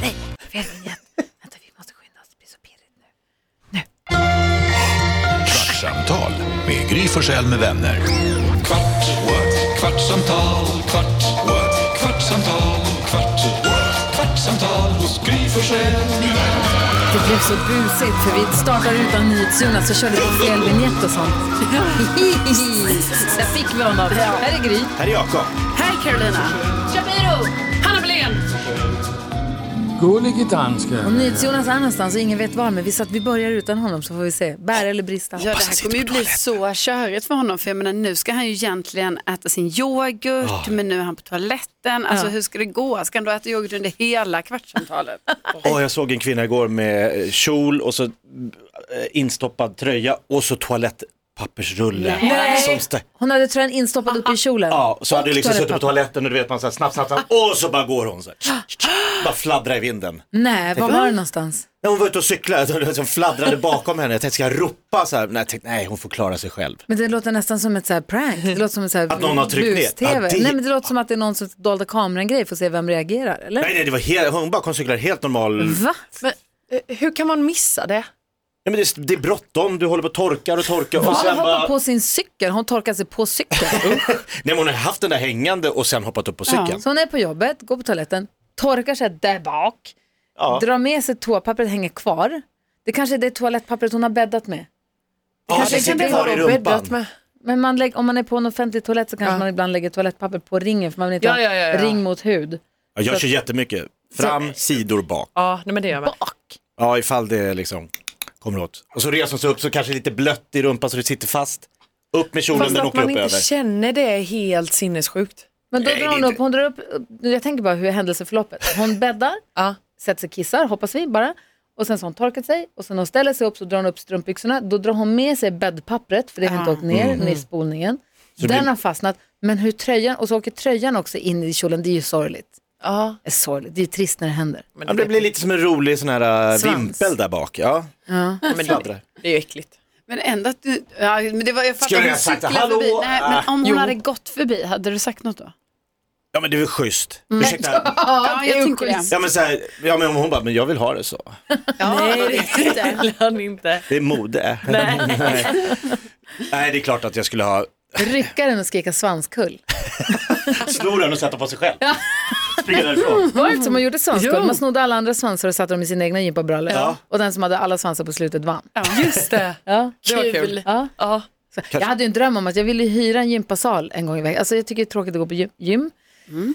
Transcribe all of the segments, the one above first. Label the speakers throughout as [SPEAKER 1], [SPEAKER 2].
[SPEAKER 1] fel vignett. Vänta, vi måste skynda oss. Det blir så pirrigt nu.
[SPEAKER 2] Kvartsamtal med Gry Forssell med vänner. Kvart, what? kvartsamtal, kvart, what? kvartsamtal, kvart, what? kvartsamtal hos Gry Forssell med vänner.
[SPEAKER 1] Det blev så busigt för vi startade utan NyhetsJonas så körde vi fel vignett och sånt. Där fick vi honom. Här är Gry.
[SPEAKER 3] Här är Jakob.
[SPEAKER 1] Här är Carolina. Shapiro. Hanna Belén.
[SPEAKER 4] Gullige danska.
[SPEAKER 1] Och NyhetsJonas är någonstans och ingen vet var, men vi, satt, vi börjar utan honom så får vi se. Bär eller brista.
[SPEAKER 5] Ja, det här kommer ju bli så körigt för honom. För jag menar, nu ska han ju egentligen äta sin yoghurt,
[SPEAKER 3] Ah.
[SPEAKER 5] men nu är han på toaletten. Alltså hur ska det gå? Ska han då äta yoghurt under hela kvartssamtalet?
[SPEAKER 3] Åh, jag såg en kvinna igår med eh, kjol och så eh, instoppad tröja och så toalettpappersrulle. Som stä-
[SPEAKER 1] Hon hade tröjan instoppad uppe i kjolen.
[SPEAKER 3] ja, så hade
[SPEAKER 1] Och
[SPEAKER 3] jag liksom suttit på
[SPEAKER 1] toalettpapper.
[SPEAKER 3] toaletten och du vet man så här snabbt, snabbt, snabbt och så bara går hon så här. Bara fladdrar i vinden.
[SPEAKER 1] Nej, var var det någonstans?
[SPEAKER 3] När hon var ute och cyklade så liksom fladdrade bakom henne. Jag tänkte, ska jag ropa så här? Nej, jag tänkte, nej, hon får klara sig själv.
[SPEAKER 1] Men det låter nästan som ett så här prank. Det låter som ett så här
[SPEAKER 3] Att någon har tryckt ner.
[SPEAKER 1] bus-tv.
[SPEAKER 3] Ja, det-
[SPEAKER 1] Nej, men det låter som att det är någon som dolda kameran-grej för att se vem reagerar, eller?
[SPEAKER 3] Nej, nej, det var helt, hon bara kom cyklar helt normal. Nej,
[SPEAKER 1] Va?
[SPEAKER 6] Men, eh, hur kan man missa det?
[SPEAKER 3] men det, är- det är bråttom, du håller på och torkar och torkar och
[SPEAKER 1] Hon
[SPEAKER 3] sen
[SPEAKER 1] hoppar
[SPEAKER 3] bara,
[SPEAKER 1] på sin cykel, hon torkar sig på cykeln.
[SPEAKER 3] nej men hon har haft den där hängande och sen hoppat upp på cykeln.
[SPEAKER 1] Så hon är på jobbet, går på toaletten, torkar sig där bak,
[SPEAKER 3] Ja.
[SPEAKER 1] drar med sig toapappret, hänger kvar. Det kanske är det toalettpappret hon har bäddat med.
[SPEAKER 3] Ja,
[SPEAKER 1] kanske
[SPEAKER 3] så
[SPEAKER 1] kan
[SPEAKER 3] sitter
[SPEAKER 1] det
[SPEAKER 3] kvar
[SPEAKER 1] vara
[SPEAKER 3] i
[SPEAKER 6] Bäddat
[SPEAKER 3] rumpan.
[SPEAKER 6] med.
[SPEAKER 1] Men man lägger, om man är på en offentlig toalett så kanske man ibland lägger toalettpapper på ringen för man vill inte
[SPEAKER 6] Ja,
[SPEAKER 1] ha
[SPEAKER 6] ja, ja, ja.
[SPEAKER 1] ring mot hud.
[SPEAKER 3] Ja, jag kör jättemycket. Fram, sidor, bak.
[SPEAKER 6] Ja, nej, men det gör man.
[SPEAKER 3] Ja, ifall det liksom kommer åt. Och så reser hon sig upp så kanske det är lite blött i rumpan så det sitter fast. Upp med kjolen,
[SPEAKER 6] Fast
[SPEAKER 3] den
[SPEAKER 6] att
[SPEAKER 3] åker
[SPEAKER 6] man
[SPEAKER 3] upp
[SPEAKER 6] inte
[SPEAKER 3] över.
[SPEAKER 6] känner det är helt sinnessjukt.
[SPEAKER 1] Men då
[SPEAKER 3] Nej,
[SPEAKER 1] drar
[SPEAKER 3] det är
[SPEAKER 1] hon
[SPEAKER 3] inte-
[SPEAKER 1] upp, hon drar upp, jag tänker bara hur är händelseförloppet. Hon bäddar,
[SPEAKER 6] Ja.
[SPEAKER 1] sätter sig och kissar, hoppas vi bara. Och sen så har hon torkat sig och sen när hon ställer sig upp så drar hon upp strumpbyxorna. Då drar hon med sig bäddpappret, för det har inte åkt ner, ner i spolningen.
[SPEAKER 3] Ah. Mm-hmm. det
[SPEAKER 1] Den
[SPEAKER 3] blir-
[SPEAKER 1] har fastnat, men hur tröjan, och så åker tröjan också in i kjolen, det är ju sorgligt.
[SPEAKER 6] Ja,
[SPEAKER 1] Det är sorgligt, det är trist när det händer.
[SPEAKER 3] Ja, men det blir lite som en rolig sån här äh,
[SPEAKER 1] Svans.
[SPEAKER 3] vimpel där bak. Ja.
[SPEAKER 6] men
[SPEAKER 3] Fladdrar.
[SPEAKER 6] det, det är ju äckligt.
[SPEAKER 5] Men ändå att du, ja, men det var, jag fattar
[SPEAKER 3] Skulle jag
[SPEAKER 5] att hon
[SPEAKER 3] ha sagt,
[SPEAKER 5] cyklade
[SPEAKER 3] "Hallå?"
[SPEAKER 5] förbi. Nej, men om hon
[SPEAKER 6] Jo.
[SPEAKER 5] hade gått förbi, hade du sagt något då?
[SPEAKER 3] ja, men det är väl schysst.
[SPEAKER 6] Mm.
[SPEAKER 3] Ursäkta.
[SPEAKER 5] Ja, jag tänker det.
[SPEAKER 3] Ja, men så här, ja, men hon bara, men jag vill ha det så.
[SPEAKER 5] Ja, det är det.
[SPEAKER 6] Han inte.
[SPEAKER 3] Det är mode. Nej. Nej, det är klart att jag skulle ha
[SPEAKER 1] Rycka den och skrika svanskull.
[SPEAKER 3] snor den och sätta på sig själv. Springa därifrån.
[SPEAKER 1] Var det inte som man gjorde svanskull? Man snodde alla andra svansar och satte dem i sina egna gympabrallor. Och den som hade alla svansar på slutet vann.
[SPEAKER 6] Just det.
[SPEAKER 1] Ja.
[SPEAKER 6] Det var kul.
[SPEAKER 1] Ja.
[SPEAKER 6] Ja.
[SPEAKER 1] Så Jag hade ju en dröm om att jag ville hyra en gympasal en gång i veckan. Alltså jag tycker det är tråkigt att gå på gym. gym.
[SPEAKER 3] Mm.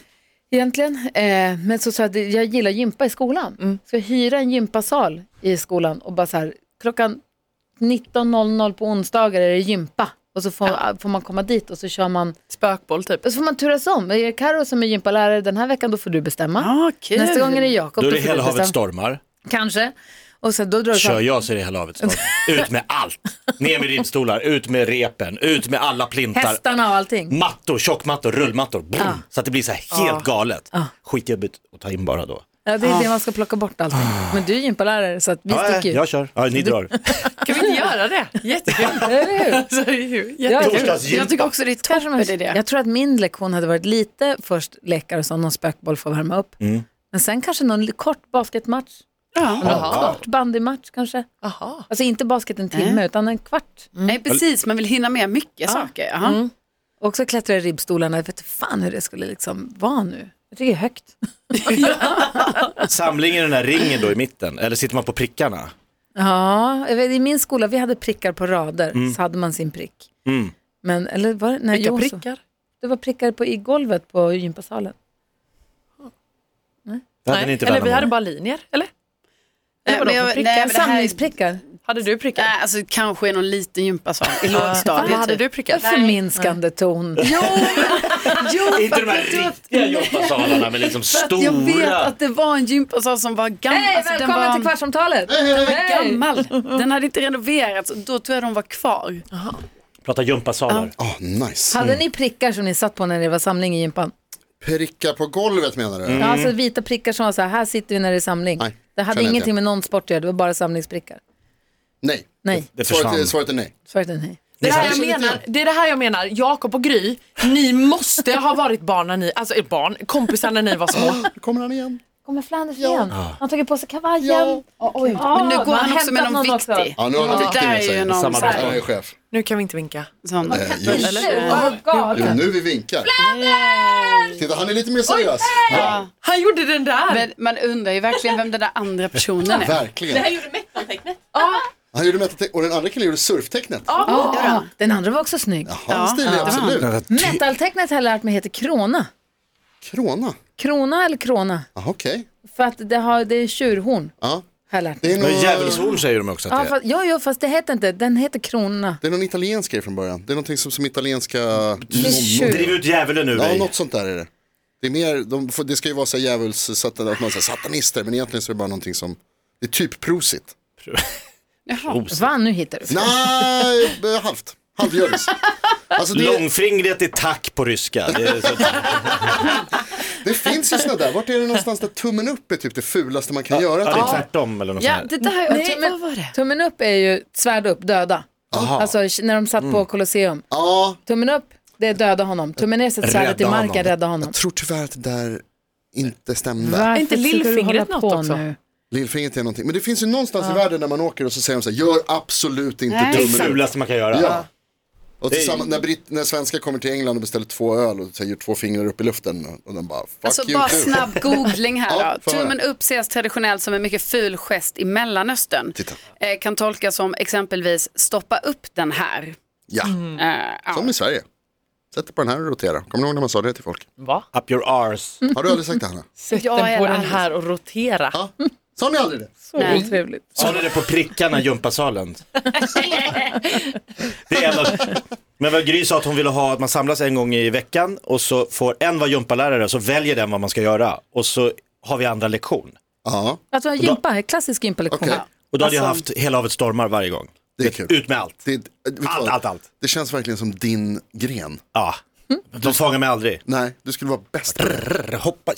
[SPEAKER 1] Egentligen. Eh, men så sa jag att jag gillar gympa i skolan.
[SPEAKER 3] Mm.
[SPEAKER 1] Så jag hyra en gympasal i skolan och bara så här, klockan 19.00 på onsdagar är det gympa. Och så får, eh, får man komma dit och så kör man,
[SPEAKER 6] Spökboll typ.
[SPEAKER 1] och så får man turas om. Är det Karo som är gympalärare den här veckan, då får du bestämma.
[SPEAKER 5] Ja, kul.
[SPEAKER 1] Nästa gång är det Jakob,
[SPEAKER 3] Då är det
[SPEAKER 1] får du
[SPEAKER 3] hela havet
[SPEAKER 1] bestämma.
[SPEAKER 3] stormar.
[SPEAKER 1] Kanske. Och så då drar du
[SPEAKER 3] Kör
[SPEAKER 1] fram.
[SPEAKER 3] jag så är det hela havet stormar. Ut med allt. Ner med rimstolar, ut med repen, ut med alla plintar.
[SPEAKER 1] hästarna och allting.
[SPEAKER 3] mattor, tjockmattor, rullmattor. Boom, Så att det blir så här helt galet. Skitjobbigt att ta in bara då.
[SPEAKER 1] Ja, det är det man ska plocka bort allting. Men du är gympalärare så att vi
[SPEAKER 3] Ah. Ja,
[SPEAKER 1] sticker ju.
[SPEAKER 3] jag kör. Ja, ni drar.
[SPEAKER 6] Kan vi inte göra det? Jättekul.
[SPEAKER 1] Eller hur?
[SPEAKER 6] Alltså, det är ju
[SPEAKER 1] Ja,
[SPEAKER 6] jättekul.
[SPEAKER 3] Torsdagsgympa.
[SPEAKER 5] Jag tycker också det är toppen
[SPEAKER 1] Kanske man-
[SPEAKER 5] idé.
[SPEAKER 1] Jag tror att min lektion hade varit lite först lekar och så någon spökboll får värma upp. Men sen kanske någon li- kort basketmatch,
[SPEAKER 5] Ja.
[SPEAKER 3] Ja.
[SPEAKER 1] kort bandymatch kanske.
[SPEAKER 6] Aha.
[SPEAKER 1] Alltså inte basket en timme utan en kvart.
[SPEAKER 5] Nej, precis, man vill hinna med mycket saker. Eh, Jaha.
[SPEAKER 1] Och så klättra i ribbstolarna, jag vet inte fan hur det skulle liksom vara nu. Jag tycker det är högt.
[SPEAKER 3] Samling i den här ringen då i mitten, eller sitter man på prickarna?
[SPEAKER 1] Ja, jag vet, i min skola, vi hade prickar på rader, så hade man sin prick.
[SPEAKER 3] Mm.
[SPEAKER 1] Men, eller var det? Nej,
[SPEAKER 6] Vilka
[SPEAKER 1] jo, så-
[SPEAKER 6] prickar?
[SPEAKER 1] Det var prickar på, i golvet på gympasalen.
[SPEAKER 3] Det hade ni inte
[SPEAKER 6] eller vi
[SPEAKER 3] Värnamo.
[SPEAKER 6] hade bara linjer, eller?
[SPEAKER 5] Nej,
[SPEAKER 6] Eller
[SPEAKER 5] men
[SPEAKER 6] vadå,
[SPEAKER 5] jag-
[SPEAKER 6] för
[SPEAKER 5] nej,
[SPEAKER 6] prickar?
[SPEAKER 5] men det här är-
[SPEAKER 1] Samlingsprickar.
[SPEAKER 6] Hade du prickar?
[SPEAKER 5] Nej, alltså kanske i någon liten gympasal i
[SPEAKER 6] Vad
[SPEAKER 5] lågstadiet. typ.
[SPEAKER 6] hade du prickar?
[SPEAKER 1] Förminskande ton.
[SPEAKER 3] Inte de här riktiga gympasalarna med liksom
[SPEAKER 5] Att jag vet
[SPEAKER 3] stora.
[SPEAKER 5] att det var en gympasal som var gammal.
[SPEAKER 1] Hej,
[SPEAKER 5] alltså,
[SPEAKER 1] välkommen
[SPEAKER 5] den var
[SPEAKER 1] till Kvartsamtalet!
[SPEAKER 5] gammal. Den hade inte renoverats och då tror jag de var kvar.
[SPEAKER 3] Prata gympasalar.
[SPEAKER 7] Ah, nice.
[SPEAKER 1] Hade ni prickar som ni satt på när det var samling i gympan?
[SPEAKER 7] Prickar på golvet menar du?
[SPEAKER 1] Ja, alltså vita prickar som var så här, här sitter vi när det är samling.
[SPEAKER 7] Mm. Nej,
[SPEAKER 1] det hade
[SPEAKER 7] känner jag
[SPEAKER 1] ingenting
[SPEAKER 7] inte.
[SPEAKER 1] med någon sport att göra, det var bara samlingsprickar.
[SPEAKER 7] Nej.
[SPEAKER 1] Nej,
[SPEAKER 3] Det försvann.
[SPEAKER 7] Svaret, är- svaret är nej.
[SPEAKER 1] svaret är nej.
[SPEAKER 6] Det, här jag
[SPEAKER 7] sant.
[SPEAKER 6] menar, det är det här jag menar, Jakob och Gry,
[SPEAKER 7] Ah.
[SPEAKER 6] ni måste ha varit barn när ni, alltså eh, barn, kompisar när ni var små.
[SPEAKER 7] Nu kommer han igen.
[SPEAKER 1] kommer Flanders igen. Han har tagit på sig kavajen.
[SPEAKER 7] Ja.
[SPEAKER 1] Ja,
[SPEAKER 5] Men nu går
[SPEAKER 1] man
[SPEAKER 5] han också med
[SPEAKER 1] hämtar
[SPEAKER 5] någon
[SPEAKER 1] också.
[SPEAKER 5] viktig.
[SPEAKER 7] Ja, nu har han
[SPEAKER 5] Det
[SPEAKER 7] en viktig
[SPEAKER 5] där
[SPEAKER 7] med
[SPEAKER 5] är ju
[SPEAKER 7] sig.
[SPEAKER 5] någon så
[SPEAKER 7] Han
[SPEAKER 5] här,
[SPEAKER 7] är chef.
[SPEAKER 6] Nu kan vi inte vinka.
[SPEAKER 5] sån.
[SPEAKER 7] Eh, just.
[SPEAKER 1] Oh, God.
[SPEAKER 7] Jo, nu vi vinkar.
[SPEAKER 5] Eh,
[SPEAKER 7] Titta, han är lite mer seriös. Ja,
[SPEAKER 6] Han gjorde den där!
[SPEAKER 5] Men man undrar ju verkligen vem den där andra personen är.
[SPEAKER 7] verkligen.
[SPEAKER 6] gjorde Mettan-tecknet.
[SPEAKER 7] Han gjorde metatecknet och den andra killen gjorde surftecknet.
[SPEAKER 1] Ja, den andra var också snygg.
[SPEAKER 7] Han är stilig, absolut.
[SPEAKER 1] Metaltecknet har jag lärt mig heter krona.
[SPEAKER 7] Krona.
[SPEAKER 1] Krona eller krona?
[SPEAKER 7] Ja, Okej.
[SPEAKER 1] För att det, har, det är tjurhorn.
[SPEAKER 7] Ja.
[SPEAKER 1] Har jag lärt mig.
[SPEAKER 7] Det är
[SPEAKER 3] Men
[SPEAKER 7] någon,
[SPEAKER 3] djävulshorn säger de också
[SPEAKER 1] Ja,
[SPEAKER 3] att det är.
[SPEAKER 1] fast, ja, ja, fast det heter inte. Den heter krona.
[SPEAKER 7] det är någon italiensk grej från början. Det är någonting som, som italienska...
[SPEAKER 3] Driv
[SPEAKER 1] Tjur.
[SPEAKER 3] ut djävulen ur
[SPEAKER 7] Ja,
[SPEAKER 3] dig.
[SPEAKER 7] något sånt där är det. Det, är mer, de får, det ska ju vara så här djävuls, att man säger satanister, men egentligen så är det bara någonting som, det är typ prosit.
[SPEAKER 1] Vad nu hittar du?
[SPEAKER 7] Nej, eh, halvt. Halvgöris. Alltså det,
[SPEAKER 3] Långfingret är tack på ryska. Det är så...
[SPEAKER 7] det finns ju sådana där, vart är det någonstans där tummen upp är typ det fulaste man kan göra?
[SPEAKER 3] Ja, det
[SPEAKER 7] typ?
[SPEAKER 3] är tvärtom eller något
[SPEAKER 5] Ja,
[SPEAKER 3] sånt
[SPEAKER 5] det där jag
[SPEAKER 1] Nej,
[SPEAKER 5] tyckte,
[SPEAKER 1] men-
[SPEAKER 5] vad var det?
[SPEAKER 1] Tummen upp är ju svärd upp, döda.
[SPEAKER 3] Aha.
[SPEAKER 1] Alltså när de satt på Colosseum.
[SPEAKER 7] ja,
[SPEAKER 1] Tummen upp, det är döda honom. Tummen ner, sätt svärdet i
[SPEAKER 3] Rädda
[SPEAKER 1] marken,
[SPEAKER 3] honom.
[SPEAKER 1] rädda honom.
[SPEAKER 7] jag tror tyvärr att det där inte stämde.
[SPEAKER 1] Varför
[SPEAKER 6] inte
[SPEAKER 1] ska du
[SPEAKER 6] lillfingret
[SPEAKER 1] hålla
[SPEAKER 6] något
[SPEAKER 1] på
[SPEAKER 6] också?
[SPEAKER 1] Nu?
[SPEAKER 7] Lillfingret är någonting, men det finns ju någonstans i världen där man åker och så säger de så här, gör absolut inte
[SPEAKER 5] Nej,
[SPEAKER 3] där. Det
[SPEAKER 7] tummen upp.
[SPEAKER 3] fulaste man kan göra.
[SPEAKER 7] Ja. Och
[SPEAKER 3] Det är-
[SPEAKER 7] tillsammans, när, britt, när svenskar kommer till England och beställer två öl och så här, gör två fingrar upp i luften och- och de bara, fuck
[SPEAKER 5] Alltså
[SPEAKER 7] you
[SPEAKER 5] bara
[SPEAKER 7] too.
[SPEAKER 5] snabb googling här
[SPEAKER 7] Ja,
[SPEAKER 5] då.
[SPEAKER 7] får höra.
[SPEAKER 5] Tummen upp ses traditionellt som en mycket ful gest i Mellanöstern.
[SPEAKER 7] Titta.
[SPEAKER 5] Eh, kan tolkas som exempelvis stoppa upp den här.
[SPEAKER 7] Ja,
[SPEAKER 5] Eh, ja.
[SPEAKER 7] som i Sverige. Sätt dig på den här och rotera. Kommer ni ihåg när man sa det till folk?
[SPEAKER 6] Va?
[SPEAKER 3] Up your arse.
[SPEAKER 5] Mm.
[SPEAKER 7] Har du aldrig sagt det Hanna?
[SPEAKER 6] Sätt
[SPEAKER 5] Ja,
[SPEAKER 6] den på
[SPEAKER 5] eller
[SPEAKER 6] den
[SPEAKER 5] aldrig.
[SPEAKER 6] här och rotera.
[SPEAKER 7] Ja. Sa ni aldrig det?
[SPEAKER 1] Så otrevligt.
[SPEAKER 3] Sa ni det på prickarna i gympasalen? Det är en av- Men vad Gry sa att hon ville ha att man samlas en gång i veckan och så får en vara gympalärare och så väljer den vad man ska göra och så har vi andra lektion.
[SPEAKER 7] Ja,
[SPEAKER 1] Att vara gympa, klassisk gympalektion.
[SPEAKER 7] okej.
[SPEAKER 3] Och då hade jag haft hela havet stormar varje gång.
[SPEAKER 7] Alltså- Det är kul.
[SPEAKER 3] Ut med allt.
[SPEAKER 7] Det, vet du
[SPEAKER 3] Allt,
[SPEAKER 7] vad?
[SPEAKER 3] allt, allt.
[SPEAKER 7] det känns verkligen som din gren.
[SPEAKER 3] Ja. De fångar mig aldrig.
[SPEAKER 7] Nej, du skulle vara bäst på det. Jag
[SPEAKER 3] Brr, Hoppa.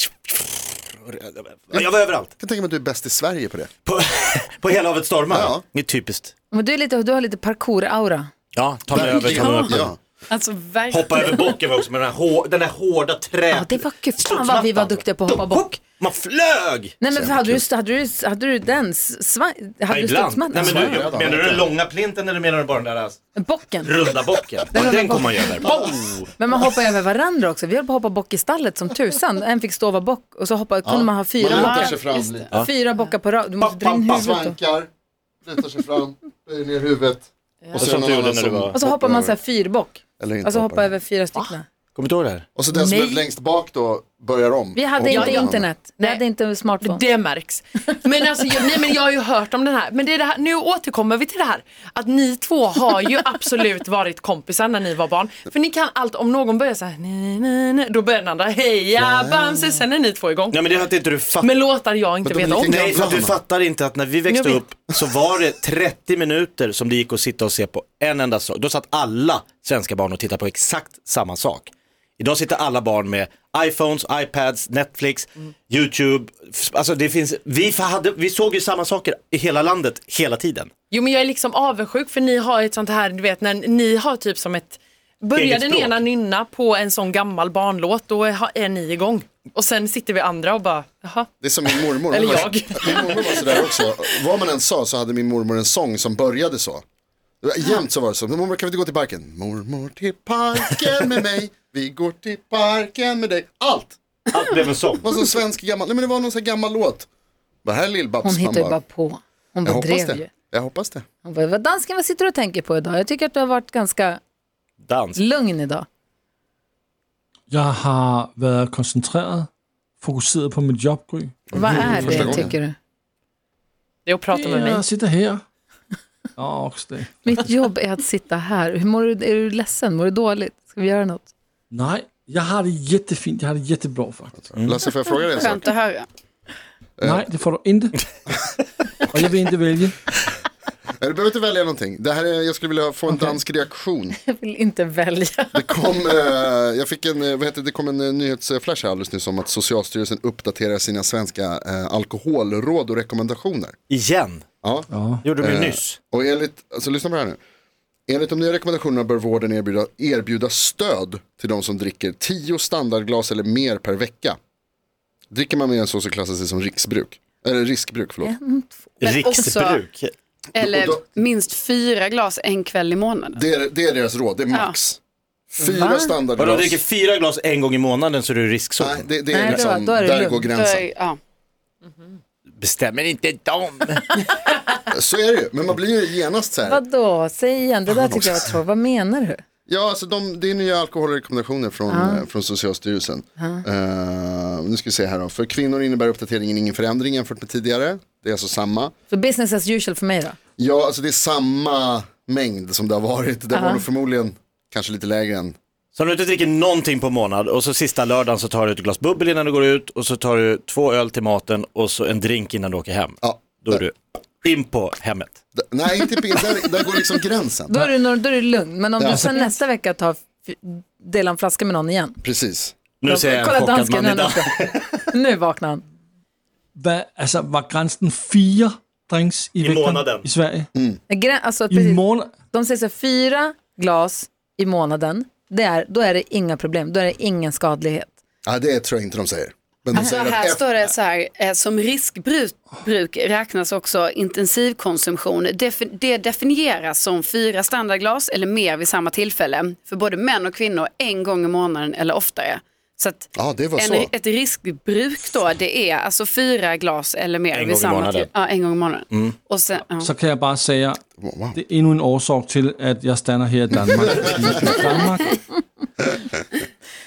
[SPEAKER 3] Ja, Jag var överallt.
[SPEAKER 7] kan tänka mig att du är bäst i Sverige på det.
[SPEAKER 3] På, på hela havet stormar.
[SPEAKER 7] Ja.
[SPEAKER 3] Det är typiskt.
[SPEAKER 1] Men du, är lite, du har lite parkour-aura.
[SPEAKER 3] Ja, ta mig över kanonerna.
[SPEAKER 7] ja.
[SPEAKER 5] Alltså verkligen.
[SPEAKER 3] Hoppa över bocken var också med den här, hår, den här hårda trä...
[SPEAKER 1] Ja, det var kul. Fan vad vi var duktiga på att hoppa bock.
[SPEAKER 3] Man flög!
[SPEAKER 1] Nej men hade du, hade, du, hade du den svan,
[SPEAKER 3] Ja,
[SPEAKER 1] hade du
[SPEAKER 3] ibland. Nej,
[SPEAKER 1] studsmattan?
[SPEAKER 3] men du, jag,
[SPEAKER 7] Svanredan,
[SPEAKER 3] menar du
[SPEAKER 7] vet
[SPEAKER 3] den långa plinten eller menar du bara den där alltså,
[SPEAKER 1] Bocken.
[SPEAKER 3] runda bocken?
[SPEAKER 1] Den
[SPEAKER 3] Den,
[SPEAKER 1] runda
[SPEAKER 3] kommer man ju över. Boom!
[SPEAKER 1] Men man hoppar över varandra också. Vi höll på att hoppa bock i stallet som tusan. En fick stå och vara bock och så hoppade, kunde man ha fyra
[SPEAKER 7] Man lutar
[SPEAKER 1] bockar.
[SPEAKER 7] sig fram lite.
[SPEAKER 1] Fyra bockar på rad. Du måste dra in
[SPEAKER 3] Bam, bam,
[SPEAKER 1] huvudet.
[SPEAKER 3] bam.
[SPEAKER 1] då.
[SPEAKER 7] Svankar, lutar sig fram, böjer ner huvudet. Och
[SPEAKER 3] Sånt du gjorde när du var-
[SPEAKER 1] Och så hoppar man så här
[SPEAKER 7] över.
[SPEAKER 1] fyrbock.
[SPEAKER 7] Eller inte
[SPEAKER 1] Alltså hoppa
[SPEAKER 7] hoppar.
[SPEAKER 1] över fyra stycken.
[SPEAKER 3] Kommer du ihåg det här?
[SPEAKER 7] Och så den som
[SPEAKER 6] Nej.
[SPEAKER 7] är längst bak då börjar om.
[SPEAKER 1] Vi hade
[SPEAKER 7] Och
[SPEAKER 1] inte
[SPEAKER 7] hoppar.
[SPEAKER 1] internet. Vi
[SPEAKER 6] Nej.
[SPEAKER 1] hade inte smartphone.
[SPEAKER 6] Det märks. Men, alltså, jag, nej, men jag har ju hört om den här. Men det är det här, nu återkommer vi till det här. Att ni två har ju absolut varit kompisar när ni var barn. För ni kan allt, om någon börjar så här, nej, nej, nej, då börjar den andra, heja Bamse, sen är ni två igång.
[SPEAKER 3] Nej men det är att inte du fattar.
[SPEAKER 6] Men låtar jag inte
[SPEAKER 7] Men de
[SPEAKER 6] vet
[SPEAKER 7] är
[SPEAKER 6] om.
[SPEAKER 7] lika-
[SPEAKER 3] Nej för att du
[SPEAKER 7] Gamla.
[SPEAKER 3] fattar inte att när vi växte
[SPEAKER 6] Jag vet.
[SPEAKER 3] upp så var det 30 minuter som det gick att sitta och se på en enda sak. Då satt alla svenska barn och tittade på exakt samma sak. Idag sitter alla barn med iPhones, iPads, Netflix, YouTube. F- Alltså det finns, vi, fa- hade, vi såg ju samma saker i hela landet hela tiden.
[SPEAKER 6] Jo men jag är liksom avundsjuk för ni har ett sånt här, du vet när ni har typ som ett Börjar
[SPEAKER 3] Eget
[SPEAKER 6] den
[SPEAKER 3] språk.
[SPEAKER 6] ena nynna på en sån gammal barnlåt då är, är ni igång. Och sen sitter vi andra och bara, jaha.
[SPEAKER 7] Det är som min mormor.
[SPEAKER 6] Eller
[SPEAKER 7] Hon var-
[SPEAKER 6] jag.
[SPEAKER 7] Min mormor var sådär också. Vad man än sa så hade min mormor en sång som började så. Det var- Jämt så var det så. Mormor kan vi inte gå till parken? Mormor till parken med mig. Vi går till parken med dig. Allt.
[SPEAKER 3] Allt blev en sång.
[SPEAKER 7] Det var så svensk gammal. Nej men det var någon sån här gammal låt. Vad här lill
[SPEAKER 1] Hon hittade ju bara på. Hon
[SPEAKER 7] Jag
[SPEAKER 1] bara
[SPEAKER 7] hoppas
[SPEAKER 1] drev ju.
[SPEAKER 7] det. Jag hoppas det.
[SPEAKER 1] Hon bara, vad dansken, vad sitter du och tänker på idag? Jag tycker att du har varit ganska
[SPEAKER 3] Dans.
[SPEAKER 1] lugn idag.
[SPEAKER 4] Jeg har været koncentreret, fokuseret på mit jobgry.
[SPEAKER 1] Vad är
[SPEAKER 7] Mm,
[SPEAKER 1] det
[SPEAKER 7] första gången.
[SPEAKER 1] tycker du?
[SPEAKER 6] Det är att prata med mig.
[SPEAKER 4] Jeg sitter her. Åh, oh, det.
[SPEAKER 1] Mitt jobb är att sitta här. Hur mår du? Är du ledsen? Mår du dåligt? Ska vi göra något?
[SPEAKER 4] Nej, jeg har det jättefint. Jeg har det jättebra faktisk.
[SPEAKER 7] Lasse får jag fråga dig en sak?
[SPEAKER 5] Skönt att höra.
[SPEAKER 4] Nej, det får du inte. Og jeg vil ikke vælge.
[SPEAKER 7] Nej, Du behöver inte välja någonting. Det här är, jag skulle vilja få en dansk reaktion.
[SPEAKER 1] Jag vill inte välja.
[SPEAKER 7] Det kom, eh, jag fick en, eh, vad heter det, det kom en eh, nyhetsflash här alldeles nyss om att Socialstyrelsen uppdaterar sina svenska eh, alkoholråd och rekommendationer.
[SPEAKER 3] Igen.
[SPEAKER 7] Ja.
[SPEAKER 3] Gjorde de ju nyss.
[SPEAKER 7] Och enligt, alltså lyssna på det här nu. Enligt de nya rekommendationerna bör vården erbjuda, erbjuda stöd till de som dricker 10 standardglas eller mer per vecka. Dricker man med en sås så klassas det som riksbruk. Eller riskbruk, förlåt.
[SPEAKER 5] Men
[SPEAKER 3] Riksbruk.
[SPEAKER 5] Eller
[SPEAKER 7] Och
[SPEAKER 5] minst fyra glas en kväll i månaden.
[SPEAKER 7] Det, är, det är deras råd, det är max. Fyra
[SPEAKER 3] Vadå,
[SPEAKER 7] standardglas.
[SPEAKER 3] dricker fyra glas en gång i månaden så är du i riskzonen?
[SPEAKER 7] Nej, det, det är
[SPEAKER 1] Nej, då-
[SPEAKER 7] liksom,
[SPEAKER 1] då är det
[SPEAKER 7] där
[SPEAKER 1] lugnt.
[SPEAKER 7] går gränsen.
[SPEAKER 5] Då är- Ja.
[SPEAKER 3] Bestämmer inte dem.
[SPEAKER 7] Så är det ju, men man blir ju genast så här.
[SPEAKER 1] Vadå, säg igen, det där tyckte jag var tråkigt. Vad menar du?
[SPEAKER 7] Ja, alltså de, det är nya alkoholrekommendationer från, eh, från Socialstyrelsen. Eh, nu ska vi se här då. För kvinnor innebär uppdateringen ingen förändring jämfört med tidigare. Det är alltså samma.
[SPEAKER 1] Så business as usual för mig då?
[SPEAKER 7] Ja, alltså det är samma mängd som det har varit. Det var nog förmodligen kanske lite lägre än.
[SPEAKER 3] Så om du inte dricker någonting på månad och så sista lördagen så tar du ett glas bubbel innan du går ut och så tar du två öl till maten och så en drink innan du åker hem.
[SPEAKER 7] Ja,
[SPEAKER 3] Då är du in på hemmet.
[SPEAKER 7] d- nej, inte på- där, där går liksom gränsen.
[SPEAKER 1] Då är, du, då är du lugn, men om
[SPEAKER 7] Ja. alltså
[SPEAKER 1] du sen nästa vecka tar, f- delar en flaska med någon igen.
[SPEAKER 7] Precis.
[SPEAKER 3] Nu ser jag en
[SPEAKER 1] Kolla
[SPEAKER 3] chockad
[SPEAKER 1] dansken,
[SPEAKER 3] man
[SPEAKER 1] han
[SPEAKER 3] idag.
[SPEAKER 1] också. nu vaknar han.
[SPEAKER 4] Hvad, altså, var grænsen fire drinks i, I
[SPEAKER 3] måneden.
[SPEAKER 4] I Sverige?
[SPEAKER 1] Grä- Alltså,
[SPEAKER 4] I
[SPEAKER 1] precis.
[SPEAKER 4] måneden?
[SPEAKER 1] De säger så här, fyra glas i månaden, det är, då är det inga problem, då är det ingen skadlighet.
[SPEAKER 7] Ja, det tror jag inte de säger. Men de
[SPEAKER 5] Så
[SPEAKER 7] säger
[SPEAKER 5] här
[SPEAKER 7] att
[SPEAKER 5] står det så här, eh, som riskbruk bruk räknas också intensivkonsumtion. Def, det definieras som fyra standardglas eller mer vid samma tillfälle för både män och kvinnor en gång i månaden eller oftare. Så att
[SPEAKER 7] Ja, det var
[SPEAKER 5] en,
[SPEAKER 7] så.
[SPEAKER 5] ett riskbruk då, det är alltså fyra glas eller mer
[SPEAKER 3] En gång
[SPEAKER 5] vid
[SPEAKER 3] i
[SPEAKER 5] samma
[SPEAKER 3] månaden. Mm.
[SPEAKER 5] till- Ja, en gång i månaden. Och sen, ja.
[SPEAKER 4] Så kan jeg bare sige, at
[SPEAKER 7] Wow.
[SPEAKER 4] det er endnu en årsag til, at jeg stander her i Danmark. I Danmark.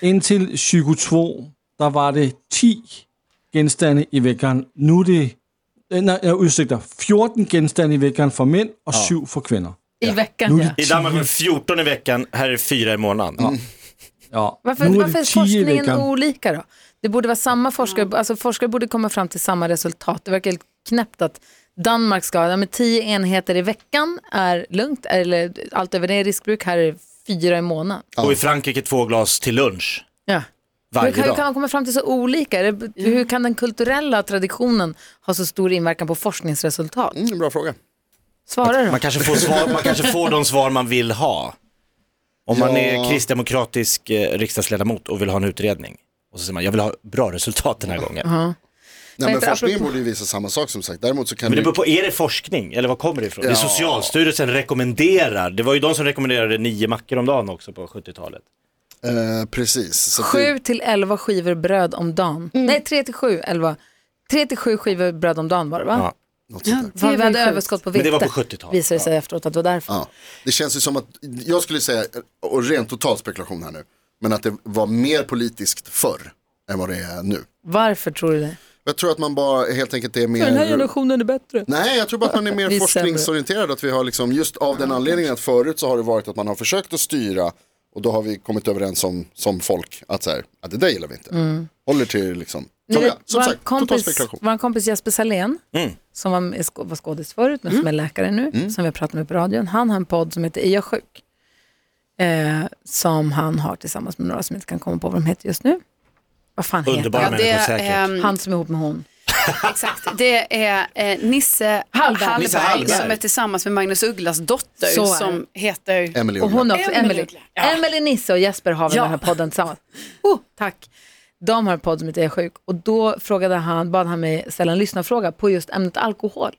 [SPEAKER 4] Indtil psykotro, der var det 10 genstande i vækkeren. Nu er det øh, nej, jeg udsigter 14 genstande i vækkeren for mænd og 7 for kvinder.
[SPEAKER 1] I veckan ja.
[SPEAKER 3] I Danmark är det 14 i veckan, här är det 4 i månaden.
[SPEAKER 4] Ja.
[SPEAKER 1] Varför,
[SPEAKER 4] nu er
[SPEAKER 1] varför
[SPEAKER 4] det
[SPEAKER 1] är
[SPEAKER 4] 10 i
[SPEAKER 1] forskningen
[SPEAKER 4] vækkeren.
[SPEAKER 1] olika då? Det borde vara samma forskare, alltså forskare borde komma fram till samma resultat. Det verkar helt knäppt att Danmark ska, ja, men tio enheter i veckan är lugnt, eller allt över det är riskbruk, här är det fyra i månaden.
[SPEAKER 3] Och i Frankrike två glas till lunch
[SPEAKER 1] Ja. Hur
[SPEAKER 3] varje
[SPEAKER 1] kan, hur kan
[SPEAKER 3] dag.
[SPEAKER 1] man komma fram till så olika? Är det- Hur kan den kulturella traditionen ha så stor inverkan på forskningsresultat?
[SPEAKER 7] Mm, bra fråga.
[SPEAKER 1] Svara då.
[SPEAKER 3] Man kanske, får svar, man kanske får de svar man vill ha. Om man
[SPEAKER 7] Ja.
[SPEAKER 3] är kristdemokratisk eh, riksdagsledamot och vill ha en utredning. Och så säger man, jag vill ha bra resultat den här gången.
[SPEAKER 7] Nej, men
[SPEAKER 1] heter det?
[SPEAKER 7] forskningen
[SPEAKER 1] Apropå-
[SPEAKER 7] borde ju visa samma sak som sagt. Däremot så kan
[SPEAKER 3] Men det
[SPEAKER 7] det
[SPEAKER 3] beror på, är det forskning eller vad kommer det ifrån? Mm. Det är
[SPEAKER 7] Ja.
[SPEAKER 3] Socialstyrelsen rekommenderar. Det var ju de som rekommenderade nio mackor om dagen också på 70-talet.
[SPEAKER 7] eh, Precis. Så att det,
[SPEAKER 1] Sju till elva skivor bröd om dagen. Nej, tre till sju, elva. Tre till sju skivor bröd om dagen var det va?
[SPEAKER 3] Ja.
[SPEAKER 7] något sånt där.
[SPEAKER 1] Fan, vi hade
[SPEAKER 5] sjukt.
[SPEAKER 1] överskott på vete.
[SPEAKER 3] Men det var på 70-talet.
[SPEAKER 1] Visade det sig efteråt att det var därför.
[SPEAKER 7] Ja. Det känns ju som att, jag skulle säga, och rent total spekulation här nu, men att det var mer politiskt förr än vad det är nu.
[SPEAKER 1] Varför tror du det?
[SPEAKER 7] Jag tror att man bara helt enkelt är
[SPEAKER 1] För den här
[SPEAKER 7] mer...
[SPEAKER 1] generationen är bättre.
[SPEAKER 7] Nej, jag tror bara att man är
[SPEAKER 1] Vi
[SPEAKER 7] mer
[SPEAKER 1] är
[SPEAKER 7] forskningsorienterad. Att vi har liksom, just av den anledningen att förut så har det varit att man har försökt att styra och då har vi kommit överens som, som folk att så här, att det där gillar vi inte. Håller till liksom, som, jag, som
[SPEAKER 1] Mm. vår,
[SPEAKER 7] sagt, total
[SPEAKER 1] kompis,
[SPEAKER 7] spekulation.
[SPEAKER 1] vår kompis Jesper Salén,
[SPEAKER 3] Mm.
[SPEAKER 1] som var, med- sk- var skådis förut men
[SPEAKER 7] Mm.
[SPEAKER 1] som är läkare nu, som vi har pratat med på radion, han har en podd som heter Är jag sjuk? Eh, som han har tillsammans med några som inte kan komma på vad de heter just nu. Vad fan
[SPEAKER 3] Underbara
[SPEAKER 5] Ja,
[SPEAKER 1] heter
[SPEAKER 5] det
[SPEAKER 3] människor säkert.
[SPEAKER 5] är,
[SPEAKER 1] han?
[SPEAKER 5] ehm,
[SPEAKER 1] Han som är ihop med hon.
[SPEAKER 5] exakt, det är eh, Nisse
[SPEAKER 1] Hallberg.
[SPEAKER 5] Hallberg,
[SPEAKER 3] Nisse Hallberg.
[SPEAKER 5] som är tillsammans med Magnus Ugglas dotter
[SPEAKER 1] Så är det.
[SPEAKER 5] som heter
[SPEAKER 7] Emily
[SPEAKER 1] Och hon
[SPEAKER 7] Uggla.
[SPEAKER 1] också,
[SPEAKER 5] Emily.
[SPEAKER 1] Emily. Emily Nisse och Jesper har väl
[SPEAKER 5] Ja.
[SPEAKER 1] den här podden tillsammans. Oh, tack. De har en podd som heter Jag är sjuk och då frågade han, bad han mig ställa en lyssnarfråga på just ämnet alkohol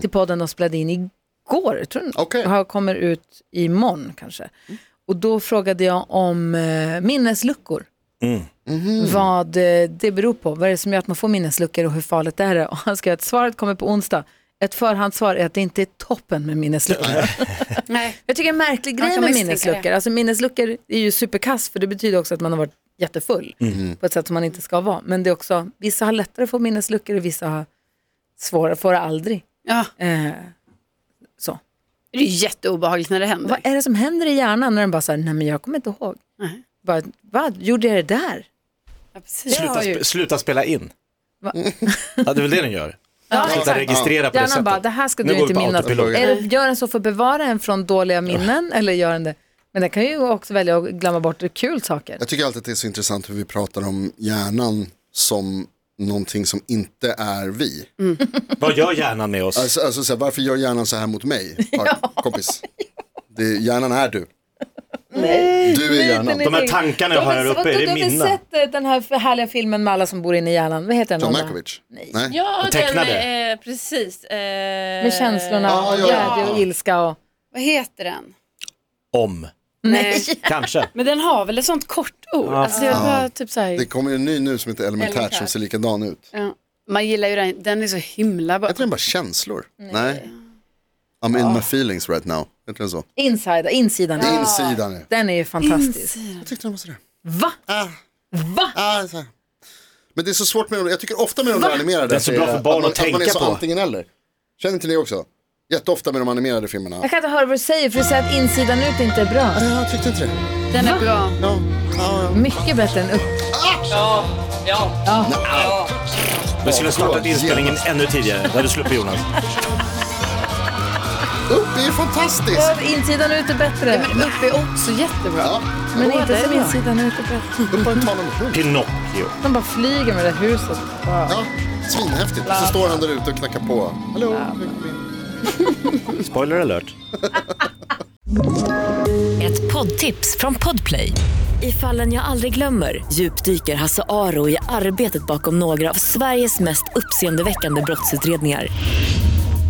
[SPEAKER 1] till podden de spelade in igår, tror jag.
[SPEAKER 7] Okej.
[SPEAKER 1] Har- kommer ut imorgon kanske. Och då frågade jag om eh, minnesluckor. Vad eh, det beror på, vad är det som gör att man får minnesluckor och hur farligt det är. Och han skrev att svaret kommer på onsdag. Ett förhandssvar är att det inte är toppen med minnesluckor.
[SPEAKER 5] Nej.
[SPEAKER 1] Jag tycker en märklig
[SPEAKER 5] Man
[SPEAKER 1] grej
[SPEAKER 5] kan
[SPEAKER 1] med
[SPEAKER 5] misstänka
[SPEAKER 1] minnesluckor. Alltså minnesluckor är ju superkass för det betyder också att man har varit jättefull
[SPEAKER 3] Mhm.
[SPEAKER 1] på ett sätt som man inte ska vara. Men det är också, vissa har lättare att få minnesluckor och vissa har svårare, får det aldrig.
[SPEAKER 5] Ja,
[SPEAKER 1] Eh, så.
[SPEAKER 5] det är jätteobehagligt när det händer.
[SPEAKER 1] Vad är det som händer i hjärnan när den bara säger nej men jag kommer inte ihåg.
[SPEAKER 5] Nej.
[SPEAKER 1] Bara, vad gjorde jag det där?
[SPEAKER 5] Ja, precis.
[SPEAKER 1] har
[SPEAKER 3] Sluta,
[SPEAKER 1] ju-
[SPEAKER 3] sp- sluta spela in.
[SPEAKER 1] Va?
[SPEAKER 3] Ja, det är väl det den gör. Sluta
[SPEAKER 1] exakt.
[SPEAKER 3] registrera på det
[SPEAKER 1] Hjärnan
[SPEAKER 3] sättet.
[SPEAKER 1] bara, det här ska
[SPEAKER 3] Nu
[SPEAKER 1] du
[SPEAKER 3] går
[SPEAKER 1] inte
[SPEAKER 3] vi på
[SPEAKER 1] minnas. Mm.
[SPEAKER 3] autopilot.
[SPEAKER 1] Eller gör den så för att bevara en från dåliga minnen eller gör den det. Men den kan ju också välja att glömma bort kul saker.
[SPEAKER 7] Jag tycker alltid att det är så intressant hur vi pratar om hjärnan som någonting som inte är vi.
[SPEAKER 3] Vad gör hjärnan med oss?
[SPEAKER 7] Alltså, alltså så här, varför gör hjärnan så här mot mig, par- kompis? Det, hjärnan är du. Du är hjärnan.
[SPEAKER 3] De här tankarna jag har här uppe, är det
[SPEAKER 1] Du har
[SPEAKER 3] mina?
[SPEAKER 1] väl sett eh, den här härliga filmen med alla som bor inne i hjärnan? Vad heter den?
[SPEAKER 7] John
[SPEAKER 1] Anna?
[SPEAKER 7] Malkovich? Nej.
[SPEAKER 8] Ja, den,
[SPEAKER 3] Och tecknade.
[SPEAKER 8] eh, precis. Eh,
[SPEAKER 1] Med känslorna,
[SPEAKER 7] Ja,
[SPEAKER 1] och
[SPEAKER 7] ja, ja.
[SPEAKER 1] glädje och ilska och...
[SPEAKER 5] Vad heter den?
[SPEAKER 3] Om,
[SPEAKER 5] Nej.
[SPEAKER 3] kanske.
[SPEAKER 5] Men den har väl ett sånt kort ord? Alltså, jag bara, typ så här.
[SPEAKER 7] Det kommer ju en ny nu som heter Elementärt som ser likadan ut.
[SPEAKER 5] Ja. Man gillar ju den, den är så himla bra.
[SPEAKER 7] Heter den bara känslor? Nej. I'm in my feelings right now. Heter den så?
[SPEAKER 1] Inside, insidan.
[SPEAKER 7] Insidan. är-
[SPEAKER 1] Den är ju fantastisk.
[SPEAKER 7] Jag tyckte den var sådär.
[SPEAKER 1] Va? Va?
[SPEAKER 7] Ah, så här. Men det är så svårt med de, jag tycker ofta med de där animerade.
[SPEAKER 3] Det är så
[SPEAKER 7] att
[SPEAKER 3] bra
[SPEAKER 7] det
[SPEAKER 3] för barn
[SPEAKER 7] man,
[SPEAKER 3] att
[SPEAKER 7] man är
[SPEAKER 3] tänka
[SPEAKER 7] så
[SPEAKER 3] på.
[SPEAKER 7] antingen eller. Känner inte ni också? Jätteofta med de animerade filmerna.
[SPEAKER 1] Jag kan inte höra vad du säger för du säger att insidan ut inte är bra.
[SPEAKER 7] Ah, jag tyckte inte det.
[SPEAKER 5] Den är bra.
[SPEAKER 7] Ja. Ah,
[SPEAKER 1] Mycket bättre än upp.
[SPEAKER 3] Vi skulle ha startat inspelningen ännu tidigare. Då hade du sluppit Jonas.
[SPEAKER 7] ja. Upp är ju fantastiskt.
[SPEAKER 1] Ja, Insidan ut är bättre.
[SPEAKER 5] Men upp är också jättebra.
[SPEAKER 7] Ja.
[SPEAKER 1] Men inte
[SPEAKER 5] det är
[SPEAKER 1] som
[SPEAKER 5] bra.
[SPEAKER 1] insidan ut är bättre.
[SPEAKER 7] Upp har en talande hund.
[SPEAKER 3] Pinocchio.
[SPEAKER 1] De bara flyger med det där huset.
[SPEAKER 7] Ja. Svinhäftigt. Och så står han där ute och knackar på. Hallå.
[SPEAKER 3] Spoiler alert.
[SPEAKER 6] Ett poddtips från Podplay. I fallen jag aldrig glömmer djupdyker Hasse Aro i arbetet bakom några av Sveriges mest uppseendeväckande brottsutredningar.